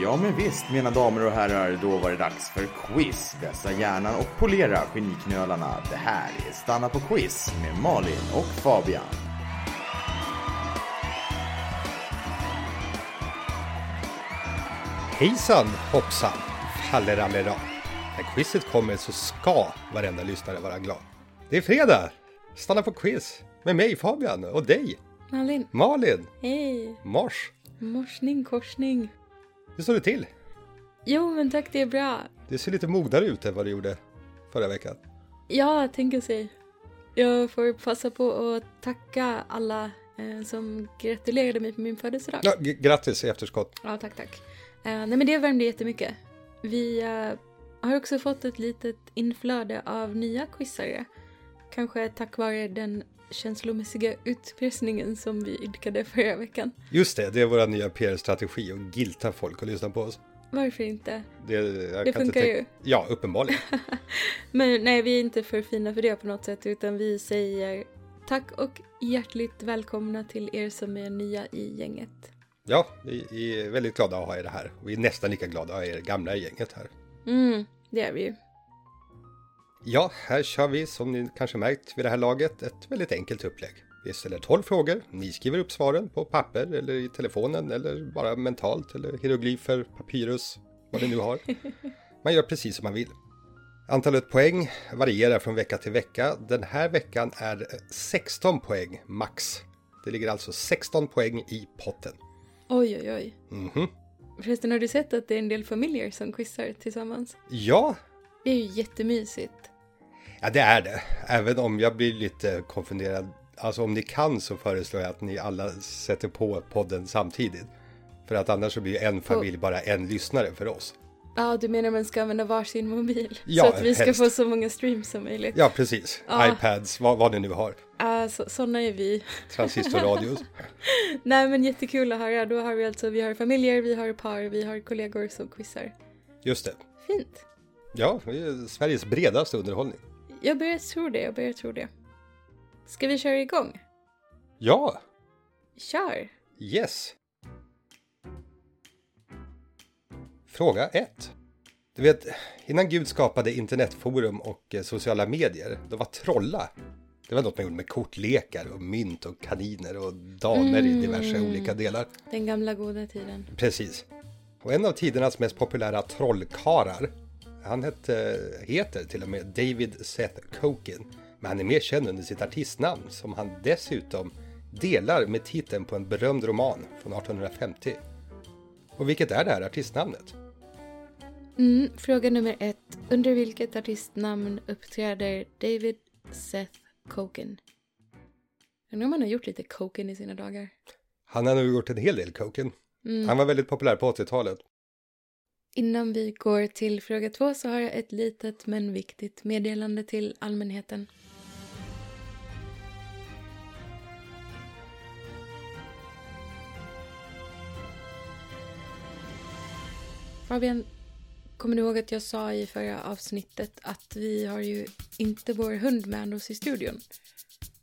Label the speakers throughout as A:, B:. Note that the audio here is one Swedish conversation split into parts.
A: Ja men visst mina damer och herrar, då var det dags för quiz. Vässa hjärnan och polera geniknölarna. Det här är Stanna på quiz med Malin och Fabian.
B: Hejsan hoppsan fallerallera. När quizet kommer så ska varenda lyssnare vara glad. Det är fredag! Stanna på quiz med mig Fabian och dig
C: Malin,
B: Malin
C: hej!
B: Mars.
C: Morsning, korsning.
B: Hur står det till?
C: Jo, men tack, det är bra.
B: Du ser lite mognare ut än vad du gjorde förra veckan.
C: Ja, tänker sig. Jag får passa på att tacka alla eh, som gratulerade mig på min födelsedag.
B: Ja, g- grattis i efterskott.
C: Ja, tack, tack. Eh, nej, men det värmde jättemycket. Vi eh, har också fått ett litet inflöde av nya quizare. Kanske tack vare den känslomässiga utpressningen som vi idkade förra veckan.
B: Just det, det är vår nya PR-strategi att gilta folk och lyssna på oss.
C: Varför inte?
B: Det, jag
C: Det
B: kan inte
C: funkar
B: tänka-
C: ju.
B: Ja, uppenbarligen.
C: Men nej, vi är inte för fina för det på något sätt utan vi säger tack och hjärtligt välkomna till er som är nya i gänget.
B: Ja, vi vi är väldigt glada att ha er här. Vi är nästan lika glada att ha er gamla i gänget här.
C: Mm, det är vi ju.
B: Ja, här kör vi som ni kanske märkt vid det här laget ett väldigt enkelt upplägg. Vi ställer 12 frågor, ni skriver upp svaren på papper eller i telefonen eller bara mentalt eller hieroglyfer, papyrus, vad ni nu har. Man gör precis som man vill. Antalet poäng varierar från vecka till vecka. Den här veckan är 16 poäng max. Det ligger alltså 16 poäng i potten.
C: Oj, oj, oj.
B: Mhm.
C: Förresten, har du sett att det är en del familjer som quizar tillsammans?
B: Ja,
C: Det är ju jättemysigt.
B: Ja, det är det. Även om jag blir lite konfunderad. Alltså om ni kan så föreslår jag att ni alla sätter på podden samtidigt. För att annars så blir en familj bara en lyssnare för oss.
C: Ja, du menar man ska använda varsin mobil?
B: Ja,
C: så att vi ska
B: helst.
C: få så många streams som möjligt.
B: Ja, precis.
C: Ja.
B: iPads, vad, vad ni nu har.
C: Ja, så, såna är vi.
B: Transistorradios.
C: Nej, men jättekul att höra. Då har vi alltså, vi har familjer, vi har par, vi har kollegor som quizar.
B: Just det.
C: Fint.
B: Ja, det är Sveriges bredaste underhållning.
C: Jag börjar tro det, jag börjar tro det. Ska vi köra igång?
B: Ja,
C: Kör!
B: yes. Fråga 1. Du vet, innan Gud skapade internetforum och eh, sociala medier, då var trolla. Det var något man gjorde med kortlekar och mynt och kaniner och damer i diverse olika delar.
C: Den gamla goda tiden.
B: Precis. Och en av tidernas mest populära trollkarlar, han hette, heter till och med David Seth Coken, men han är mer känd under sitt artistnamn som han dessutom delar med titeln på en berömd roman från 1850. Och vilket är det här artistnamnet?
C: Mm, fråga nummer ett. Under vilket artistnamn uppträder David Seth Coken? Undrar om han har gjort lite Coken i sina dagar.
B: Han har nog gjort en hel del Coken. Han var väldigt populär på 80-talet.
C: Innan vi går till fråga två så har jag ett litet men viktigt meddelande till allmänheten. Fabian, kommer du ihåg att jag sa i förra avsnittet att vi har ju inte vår hund med oss i studion?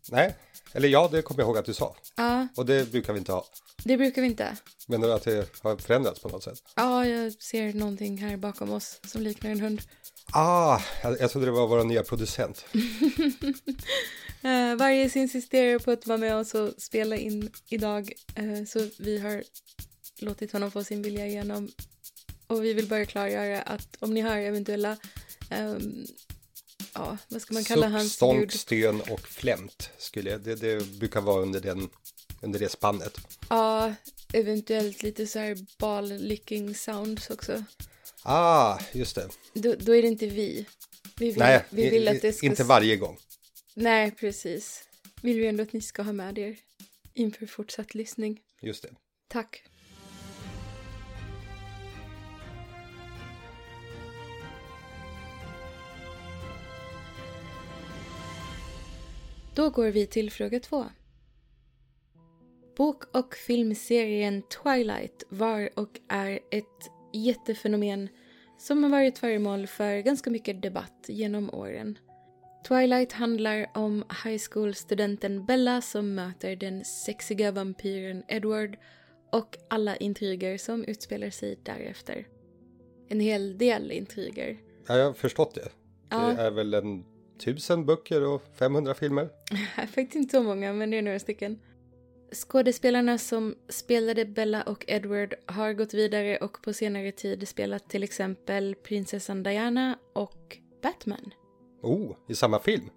B: Nej, eller ja, det kommer jag ihåg att du sa.
C: Ja,
B: Och det brukar vi inte ha.
C: det brukar vi inte.
B: Menar du att det har förändrats på något sätt?
C: Ja, jag ser någonting här bakom oss som liknar en hund.
B: Ah, jag, jag trodde det var vår nya producent.
C: Eh, varje insisterar på att vara med oss och spela in idag. eh, så vi har låtit honom få sin vilja igenom. Och vi vill bara klargöra att om ni har eventuella, ehm, ja, vad ska man kalla hans
B: Suck, stånk,
C: ljud?
B: stön och flämt. Skulle jag, det, det brukar vara under, den, under det spannet.
C: Ja, eventuellt lite så här ball-licking sounds också.
B: Ah, just det.
C: Då, då är det inte vi. Vi vill,
B: Nej,
C: vi vill
B: i-
C: att det ska...
B: inte varje gång.
C: Nej, precis. Vill vi ändå att ni ska ha med er inför fortsatt lyssning.
B: Just det.
C: Tack. Då går vi till fråga två. Bok och filmserien Twilight var och är ett jättefenomen som har varit föremål för ganska mycket debatt genom åren. Twilight handlar om high school-studenten Bella som möter den sexiga vampyren Edward och alla intriger som utspelar sig därefter. En hel del intriger.
B: Ja, jag har förstått det. Det
C: Ja,
B: är väl en tusen böcker och 500 filmer.
C: faktiskt inte så många, men det är några stycken. Skådespelarna som spelade Bella och Edward har gått vidare och på senare tid spelat till exempel prinsessan Diana och Batman.
B: Oh, i samma film?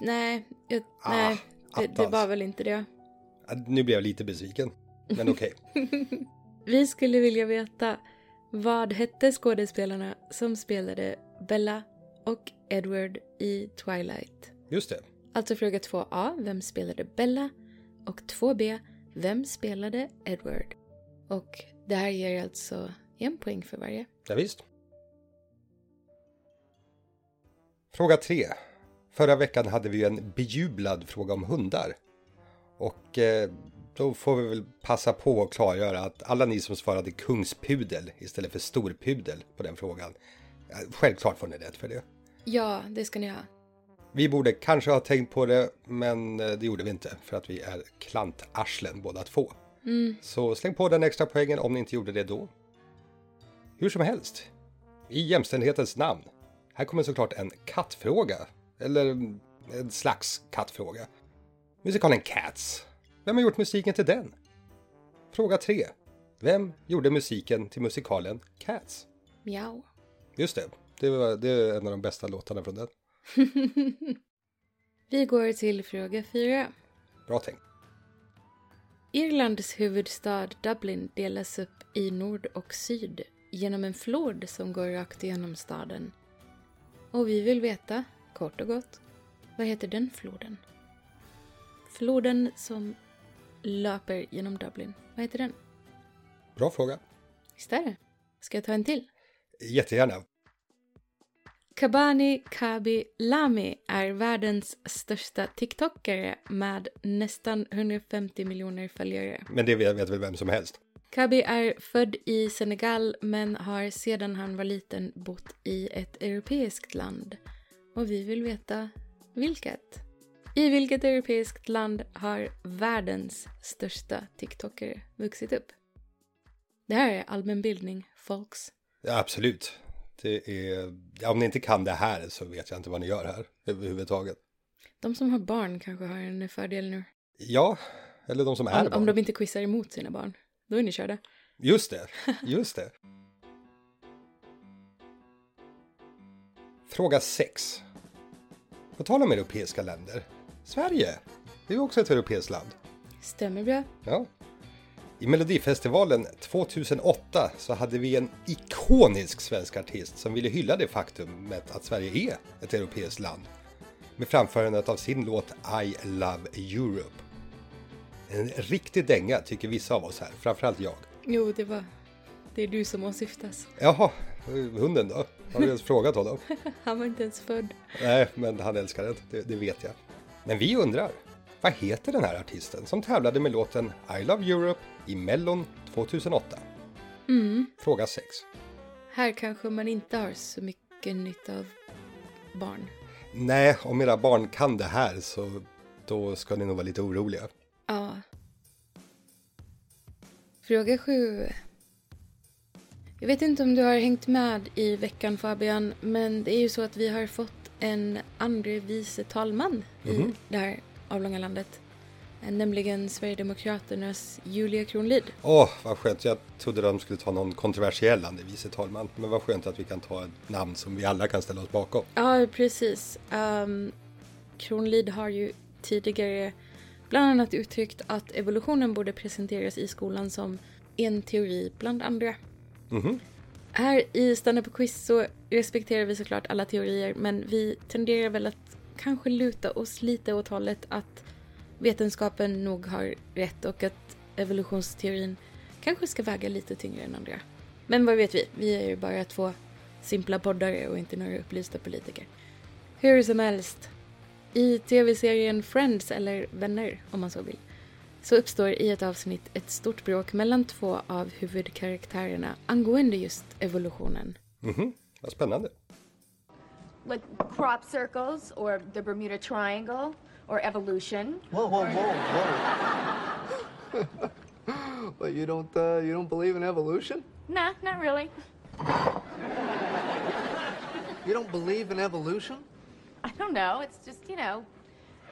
C: Nej, jag,
B: Ah,
C: nej det, det
B: attans.
C: var väl inte det.
B: Ja, Ah, Nu blev jag lite besviken. Men okej.
C: Vi skulle vilja veta vad hette skådespelarna som spelade Bella och Edward i Twilight?
B: Just det.
C: Alltså fråga 2A, vem spelade Bella? Och 2B, vem spelade Edward? Och det här ger alltså en poäng för varje.
B: Ja, visst. Fråga 3. Förra veckan hade vi ju en bejublad fråga om hundar. Och eh, då får vi väl passa på att klargöra att alla ni som svarade kungspudel istället för storpudel på den frågan. eh, Självklart får ni rätt för det.
C: Ja, det ska ni ha.
B: Vi borde kanske ha tänkt på det, men eh, det gjorde vi inte för att vi är klantarslen båda två. Så släng på den extra poängen om ni inte gjorde det då. Hur som helst, i jämställdhetens namn. Här kommer såklart en kattfråga, eller mm, en slags kattfråga. Musikalen Cats. Vem har gjort musiken till den? Fråga 3. Vem gjorde musiken till musikalen Cats?
C: Mjau.
B: Just det, det, var, det är en av de bästa låtarna från den.
C: Vi går till fråga 4.
B: Bra tänkt.
C: Irlands huvudstad Dublin delas upp i nord och syd genom en flod som går rakt igenom staden. Och vi vill veta, kort och gott, vad heter den floden? Floden som löper genom Dublin, vad heter den?
B: Bra fråga.
C: Visst är det? Ska jag ta en till?
B: Jättegärna.
C: Kabani Kabi Lami är världens största TikTokare med nästan 150 miljoner följare.
B: Men det vet vet väl vem som helst.
C: Kabi är född i Senegal men har sedan han var liten bott i ett europeiskt land. Och vi vill veta vilket. I vilket europeiskt land har världens största TikTokare vuxit upp? Det här är allmänbildning, folks.
B: Ja, absolut. Det är... ja, om ni inte kan det här så vet jag inte vad ni gör här överhuvudtaget.
C: De som har barn kanske har en fördel nu.
B: Ja, eller de som är
C: Om,
B: barn.
C: om de inte quizar emot sina barn. Då är ni körda.
B: Just det, just det. Fråga 6. På tal om europeiska länder. Sverige, det är ju också ett europeiskt land.
C: Stämmer bra.
B: Ja. I Melodifestivalen 2008 så hade vi en ikonisk svensk artist som ville hylla det faktumet att Sverige är ett europeiskt land med framförandet av sin låt I Love Europe. En riktig dänga tycker vissa av oss här, framförallt jag.
C: Jo, det var... Det är du som åsyftas.
B: Jaha, hunden då? Har du ens frågat honom?
C: Han var inte ens född.
B: Nej, men han älskar det, det, det vet jag. Men vi undrar, vad heter den här artisten som tävlade med låten I Love Europe i Mellon 2008? Fråga 6.
C: Här kanske man inte har så mycket nytta av barn.
B: Nej, om era barn kan det här så då ska ni nog vara lite oroliga.
C: Ja. Fråga sju. Jag vet inte om du har hängt med i veckan Fabian, men det är ju så att vi har fått en andre vice talman i det här avlånga landet. Eh, Nämligen Sverigedemokraternas Julia Kronlid.
B: Åh, vad skönt. Jag trodde de skulle ta någon kontroversiell andre vice talman. Men vad skönt att vi kan ta ett namn som vi alla kan ställa oss bakom.
C: Ja, precis. Ehm, Kronlid har ju tidigare bland annat uttryckt att evolutionen borde presenteras i skolan som en teori bland andra.
B: Mhm.
C: Här i Stanna på quiz så respekterar vi såklart alla teorier men vi tenderar väl att kanske luta oss lite åt hållet att vetenskapen nog har rätt och att evolutionsteorin kanske ska väga lite tyngre än andra. Men vad vet vi? Vi är ju bara två simpla poddare och inte några upplysta politiker. Hur som helst, i tv-serien Friends, eller Vänner om man så vill, så uppstår i ett avsnitt ett stort bråk mellan två av huvudkaraktärerna angående just evolutionen.
B: Mhm, vad spännande.
D: like crop circles or the Bermuda Triangle or evolution.
E: Whoa, whoa, whoa, whoa. But you don't uh, you don't believe in evolution?
D: Nah, not really.
E: You don't believe in evolution?
D: I don't know. It's just, you know,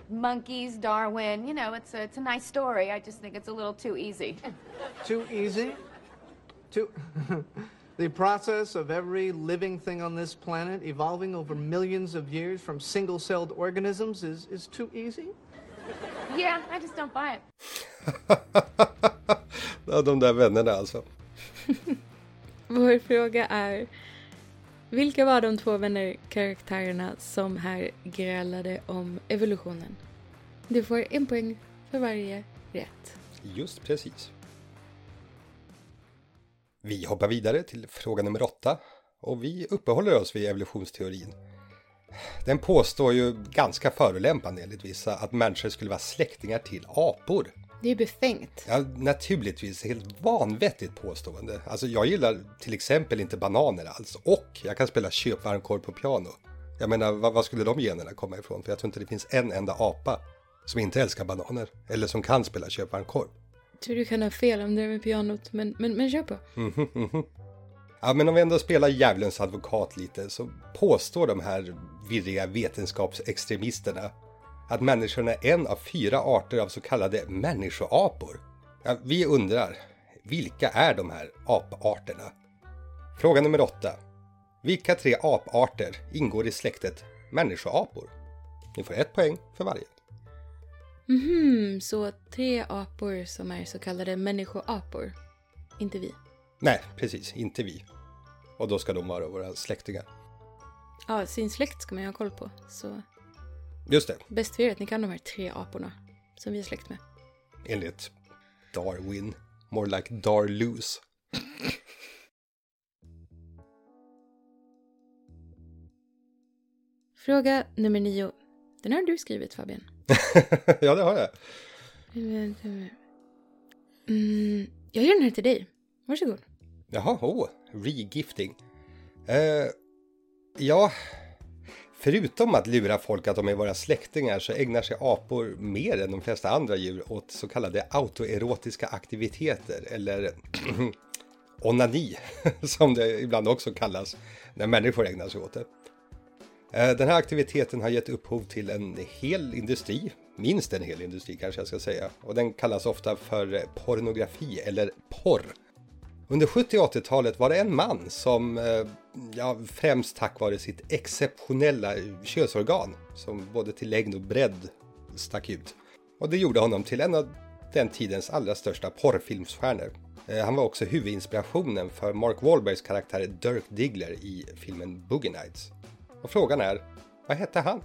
D: monkeys, Darwin, you know, it's a, it's a nice story. I just think it's a little too easy.
E: Too easy? Too The process of every living thing on this planet evolving over millions of years from single-celled organisms is is too easy?
D: yeah, I just don't buy it.
B: Ja, de där vännerna alltså.
C: Vår fråga är vilka var de två vänner-karaktärerna som här grälade om evolutionen? Du får en poäng för varje rätt.
B: Just precis. Vi hoppar vidare till fråga nummer åtta och vi uppehåller oss vid evolutionsteorin. Den påstår ju ganska förolämpande enligt vissa att människor skulle vara släktingar till apor.
C: Det är befängt.
B: Ja, naturligtvis helt vanvettigt påstående. Alltså jag gillar till exempel inte bananer alls och jag kan spela köpvarmkorv på piano. Jag menar, vad, vad skulle de generna komma ifrån? För jag tror inte det finns en enda apa som inte älskar bananer eller som kan spela köpvarmkorv.
C: Tror du kan ha fel om det där med pianot, men, men, men kör på.
B: Ja, men om vi ändå spelar djävulens advokat lite så påstår de här virriga vetenskapsextremisterna att människan är en av fyra arter av så kallade människoapor. Ja, vi undrar, vilka är de här aparterna? Fråga nummer åtta. Vilka tre aparter ingår i släktet människoapor? Ni får ett poäng för varje.
C: Mhm, så tre apor som är så kallade människoapor. Inte vi.
B: Nej, precis, inte vi. Och då ska de vara våra släktingar.
C: Ja, sin släkt ska man ju ha koll på. Så
B: Just det,
C: bäst för er att ni kan de här tre aporna som vi är släkt med.
B: enligt Darwin. More like Darlus.
C: Fråga nummer nio. Den har du skrivit Fabian.
B: ja, det har jag.
C: Mm, jag gör den här till dig. Varsågod.
B: Jaha, åh, regifting. Eh, ja, förutom att lura folk att de är våra släktingar så ägnar sig apor mer än de flesta andra djur åt så kallade autoerotiska aktiviteter eller onani, som det ibland också kallas när människor ägnar sig åt det. Eh, Den här aktiviteten har gett upphov till en hel industri, minst en hel industri kanske jag ska säga, och den kallas ofta för eh, pornografi eller porr. Under 70 och 80-talet var det en man som, eh, ja, främst tack vare sitt exceptionella könsorgan, som både till längd och bredd stack ut. Och det gjorde honom till en av den tidens allra största porrfilmsstjärnor. Eh, Han var också huvudinspirationen för Mark Wahlbergs karaktär Dirk Diggler i filmen Boogie Nights. Och frågan är, vad hette han?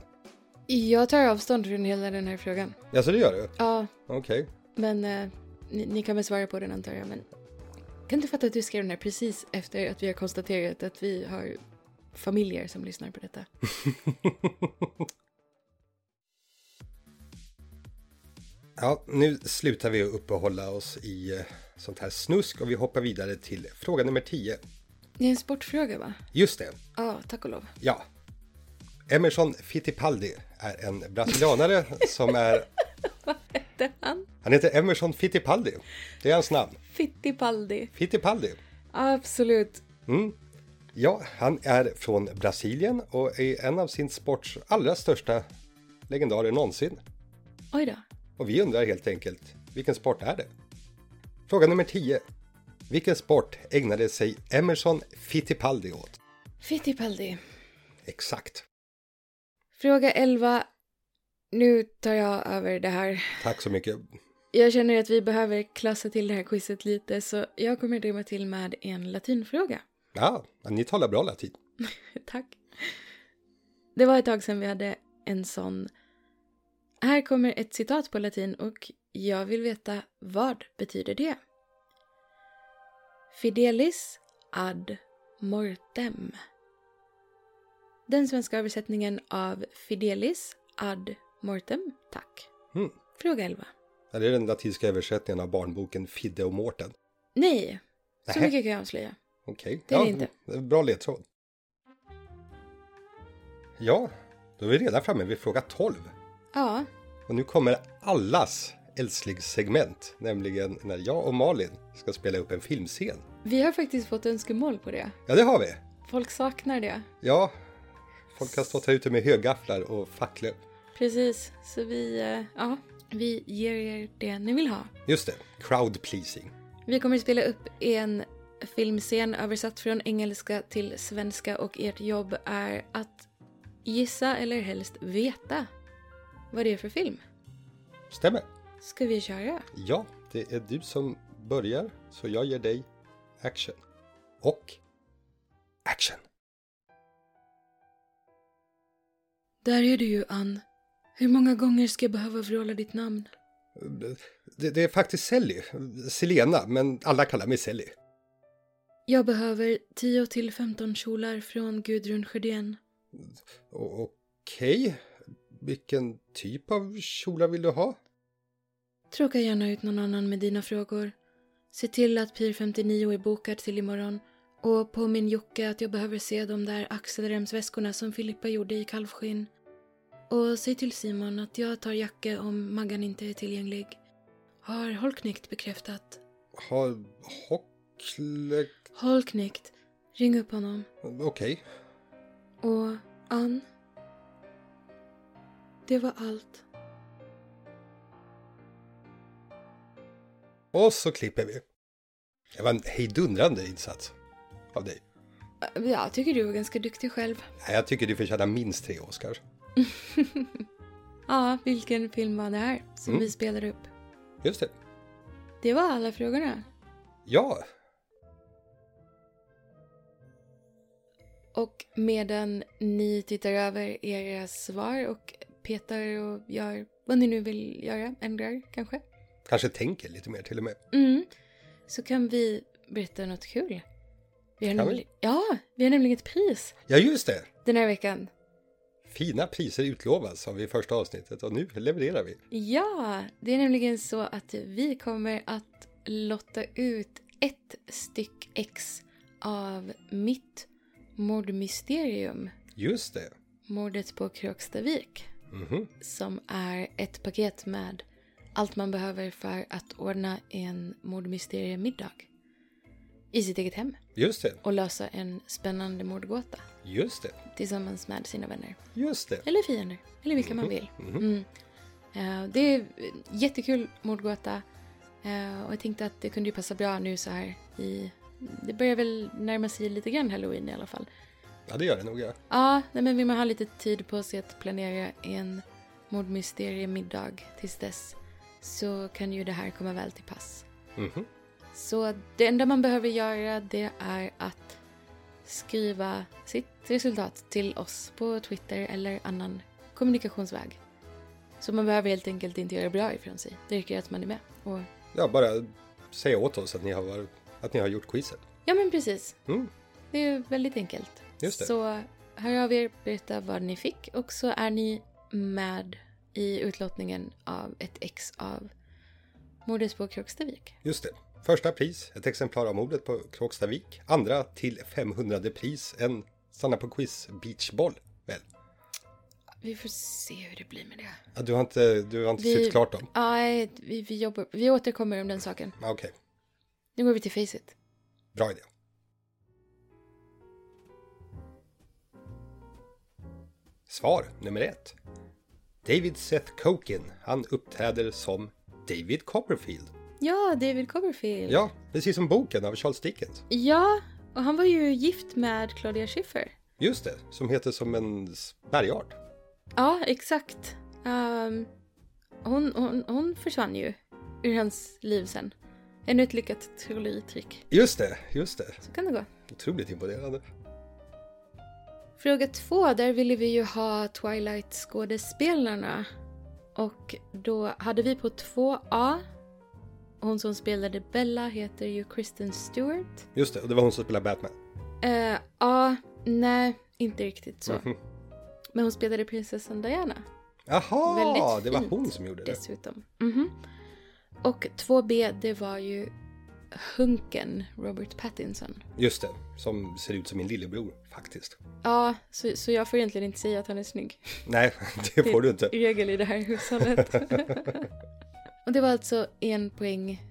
C: Jag tar avstånd från hela den här frågan.
B: Ja, så det gör du?
C: Ja,
B: Okej.
C: men eh, ni, ni kan väl svara på den antar jag. Men kan du fatta att du skrev den här precis efter att vi har konstaterat att vi har familjer som lyssnar på detta?
B: Ja, nu slutar vi att uppehålla oss i eh, sånt här snusk och vi hoppar vidare till fråga nummer 10.
C: Det är en sportfråga va?
B: Just det,
C: Ja, tack och lov.
B: Ja. Emerson Fittipaldi är en brasilianare som är...
C: Hette han
B: Han heter Emerson Fittipaldi. Det är hans namn.
C: Fittipaldi?
B: Fittipaldi.
C: Absolut.
B: Ja, han är från Brasilien och är en av sin sports allra största legendarer någonsin.
C: Oj då.
B: Och vi undrar helt enkelt, vilken sport är det? Fråga nummer 10. Vilken sport ägnade sig Emerson Fittipaldi åt?
C: Fittipaldi.
B: Exakt.
C: Fråga 11. Nu tar jag över det här.
B: Tack så mycket.
C: Jag känner att vi behöver klassa till det här quizet lite så jag kommer drimma till med en latinfråga.
B: Ja, ni talar bra latin.
C: Tack. Det var ett tag sedan vi hade en sån. Här kommer ett citat på latin och jag vill veta vad betyder det? Fidelis ad mortem. Den svenska översättningen av Fidelis ad mortem, tack.
B: Mm.
C: Fråga 11.
B: Ja, Det är den latinska översättningen av barnboken Fidde och Mårten.
C: Nej, så
B: Nähä.
C: mycket kan jag avslöja.
B: Okej.
C: Det är det inte.
B: det är en Bra ledtråd. Ja, då är vi redan framme vid fråga 12.
C: Ja,
B: Och nu kommer allas älsklingssegment, nämligen när jag och Malin ska spela upp en filmscen.
C: Vi har faktiskt fått önskemål på det.
B: Ja, det har vi!
C: Folk saknar det.
B: Ja, folk har stått här ute med högafflar och facklor.
C: Precis, så vi, eh, ja, vi ger er det ni vill ha.
B: Just det, crowd pleasing.
C: Vi kommer att spela upp en filmscen översatt från engelska till svenska och ert jobb är att gissa eller helst veta vad det är för film.
B: Stämmer?
C: Ska vi köra?
B: Ja, det är du som börjar, så jag ger dig action. Och action!
C: Där är du ju, Ann. Hur många gånger ska jag behöva vråla ditt namn?
B: Det, det är faktiskt Sally, Selena, men alla kallar mig Sally.
C: Jag behöver 10 till 15 kjolar från Gudrun Sjödén.
B: O- Okej, vilken typ av kjolar vill du ha?
C: Tråka gärna ut någon annan med dina frågor. Se till att Pir 59 är bokad till imorgon. Och påminn Jocke att jag behöver se de där axelremsväskorna som Filippa gjorde i kalvskinn. Och säg till Simon att jag tar Jacke om Maggan inte är tillgänglig. Har Holknekt bekräftat?
B: Har Hockle...
C: Holknekt, ring upp honom.
B: Okej.
C: Och Ann? Det var allt.
B: Och så klipper vi. Det var en hejdundrande insats av dig.
C: Ja, jag tycker du var ganska duktig själv.
B: Nej, jag tycker du förtjänar minst tre Oscars.
C: Ja, vilken film var det här som
B: Mm.
C: vi spelar upp?
B: Just det.
C: Det var alla frågorna.
B: Ja,
C: Och medan ni tittar över era svar och petar och gör vad ni nu vill göra, ändrar kanske,
B: kanske tänker lite mer till och med.
C: mm. så kan vi berätta något kul. Vi har
B: Kan vi?
C: nämligen, ja, vi har nämligen ett pris
B: Ja, just det.
C: den här veckan. Mm. Eh, Eh, eh, Ehm, Eh, Mhm. Och det var alltså en poäng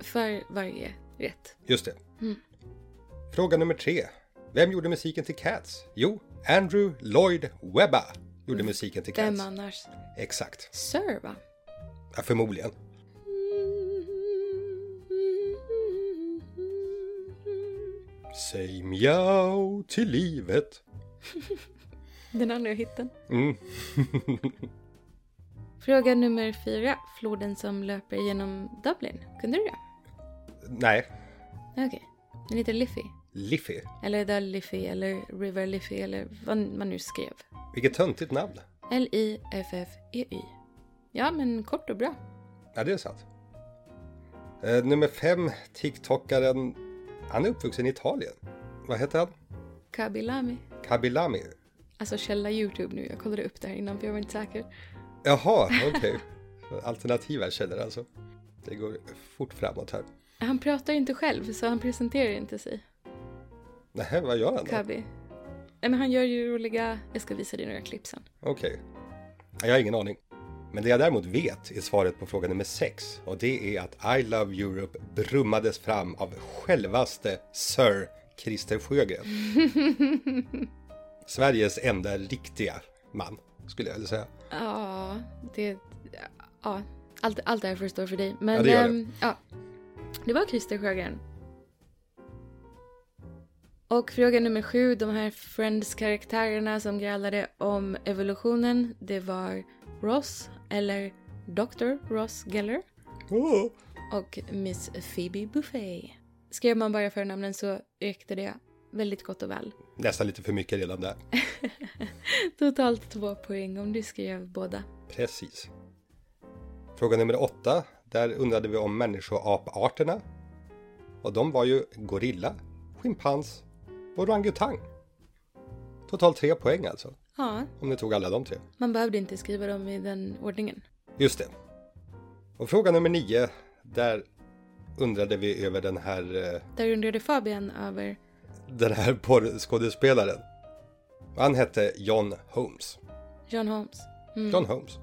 C: för varje rätt.
B: Just det. Fråga nummer tre. Vem gjorde musiken till Cats? Jo, Andrew Lloyd Webber gjorde musiken till
C: Vem
B: Cats.
C: annars?
B: Exakt.
C: Sir va?
B: Ja, förmodligen. Säg mjau till livet.
C: Den andra hitten.
B: Mm.
C: Fråga nummer fyra. Floden som löper genom Dublin. Kunde du det?
B: Nej,
C: Okej. Den heter Liffey.
B: Liffy.
C: Eller The Liffey eller River Liffey eller vad man nu skrev.
B: Vilket töntigt namn.
C: L-I-F-F-E-Y. E Ja, men kort och bra.
B: Ja, det är sant. Eh, nummer fem, TikTokaren. Han är uppvuxen i Italien. Vad heter han?
C: Kabilami.
B: Kabilami.
C: Alltså källa YouTube nu. Jag kollade upp det här innan för jag var inte säker.
B: Jaha, okej. Alternativa källor alltså. Det går fort framåt här.
C: Han pratar ju inte själv så han presenterar inte sig.
B: Nej, vad gör han då?
C: Kabi. Nej men han gör ju roliga... Jag ska visa dig några klipp sen.
B: Okej. Jag har ingen aning. Men det jag däremot vet är svaret på fråga nummer 6 och det är att I Love Europe brummades fram av självaste Sir Christer Sjögren. Sveriges enda riktiga man, skulle jag vilja säga.
C: Ja, det... Ja, allt, allt det här förstår för dig. Men,
B: Ja, det gör det.
C: ehm, ja. det var Christer Sjögren. Och fråga nummer sju, de här Friends-karaktärerna som grälade om evolutionen. Det var Ross, eller Dr. Ross Geller
B: Åh,
C: och Miss Phoebe Buffet. Skrev man bara förnamnen så räckte det väldigt gott och väl.
B: Nästan lite för mycket redan där.
C: Totalt två poäng om du skrev båda.
B: Precis. Fråga nummer 8. Där undrade vi om människoaparterna. Och de var ju gorilla, schimpans och orangutang. Totalt tre poäng alltså.
C: Ja,
B: Om ni tog alla de tre.
C: Man behövde inte skriva dem i den ordningen.
B: Just det. Och fråga nummer nio. Där undrade vi över den här, eh,
C: Där undrade Fabian över...
B: den här porrskådespelaren. Och Han hette John Holmes.
C: John Holmes.
B: John Holmes.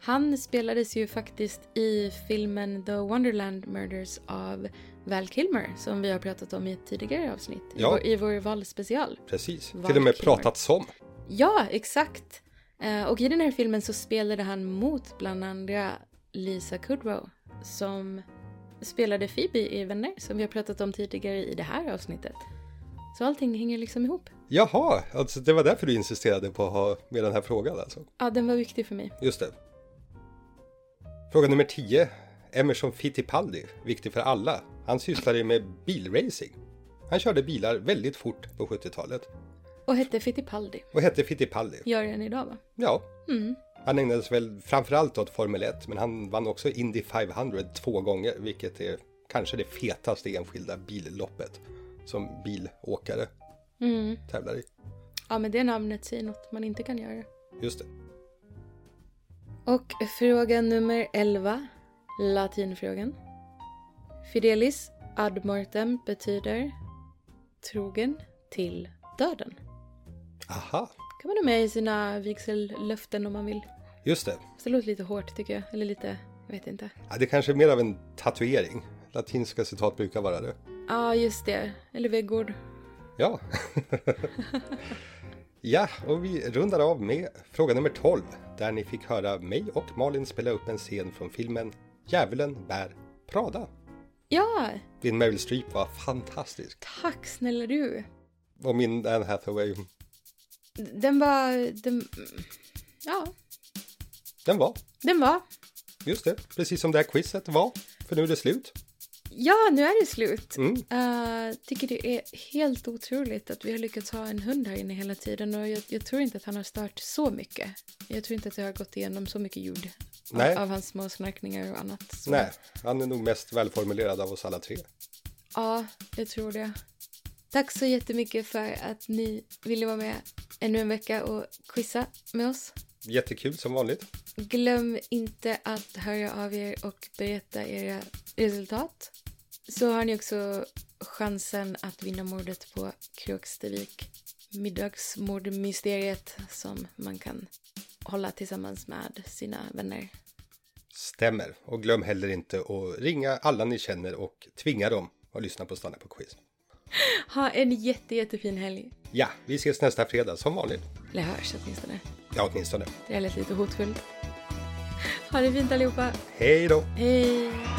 C: Han spelades ju faktiskt i filmen The Wonderland Murders av Val Kilmer som vi har pratat om i ett tidigare avsnitt. I,
B: Ja.
C: vår, i vår valspecial.
B: Precis.
C: Val
B: Till och med
C: Kilmer.
B: pratat som.
C: Ja, exakt! Eh, Och i den här filmen så spelade han mot bland andra Lisa Kudrow som spelade Phoebe i Vänner som vi har pratat om tidigare i det här avsnittet. Så allting hänger liksom ihop.
B: Jaha, alltså det var därför du insisterade på att ha med den här frågan alltså.
C: Ja, den var viktig för mig.
B: Just det. Fråga nummer 10. Emerson Fittipaldi, viktig för alla. Han sysslade ju med bilracing. Han körde bilar väldigt fort på 70-talet
C: Och hette Fittipaldi.
B: och hette Fittipaldi.
C: Gör den idag va?
B: Ja. Han ägnades väl framförallt åt Formel 1, men han vann också Indy 500 två gånger, vilket är kanske det fetaste enskilda billoppet som bilåkare tävlar i.
C: Ja men det namnet säger något man inte kan göra.
B: Just det.
C: Och fråga nummer 11. Latinfrågan. Fidelis ad mortem betyder trogen till döden.
B: Aha,
C: Kan man ha med i sina vigsellöften om man vill.
B: just det.
C: Fast det låter lite hårt tycker jag. Eller lite, jag vet inte.
B: Ja, det kanske är mer av en tatuering. Latinska citat brukar vara det.
C: Ja just det. Eller väggord.
B: Ja. ja, och vi rundar av med fråga nummer 12 där ni fick höra mig och Malin spela upp en scen från filmen Djävulen bär Prada.
C: Ja!
B: Din Meryl Streep var fantastisk
C: Tack snälla du.
B: och min Anne Hathaway,
C: D- Den var, den, ja.
B: den var
C: Den var.
B: just det, precis som det här quizet var. För nu är det slut.
C: Ja, nu är det slut.
B: Mm.
C: Eh, tycker det är helt otroligt att vi har lyckats ha en hund här inne hela tiden och jag, jag tror inte att han har stört så mycket. Jag tror inte att jag har gått igenom så mycket ljud av,
B: Nej.
C: av hans små snarkningar och annat. Så-
B: Nej, han är nog mest välformulerad av oss alla tre.
C: Ja, jag tror det. Tack så jättemycket för att ni ville vara med ännu en vecka och quizza med oss.
B: Jättekul som vanligt.
C: Glöm inte att höra av er och berätta era resultat. Så har ni också chansen att vinna mordet på Krokstevik. Middagsmordmysteriet som man kan hålla tillsammans med sina vänner.
B: Stämmer. Och glöm heller inte att ringa alla ni känner och tvinga dem att lyssna på Stanna på quiz.
C: Ha en jätte, jättefin helg.
B: Ja, vi ses nästa fredag som vanligt.
C: Eller hörs åtminstone.
B: Ja, åtminstone.
C: Det lät lite hotfullt. Ha det fint allihopa.
B: Hej då!
C: Hej!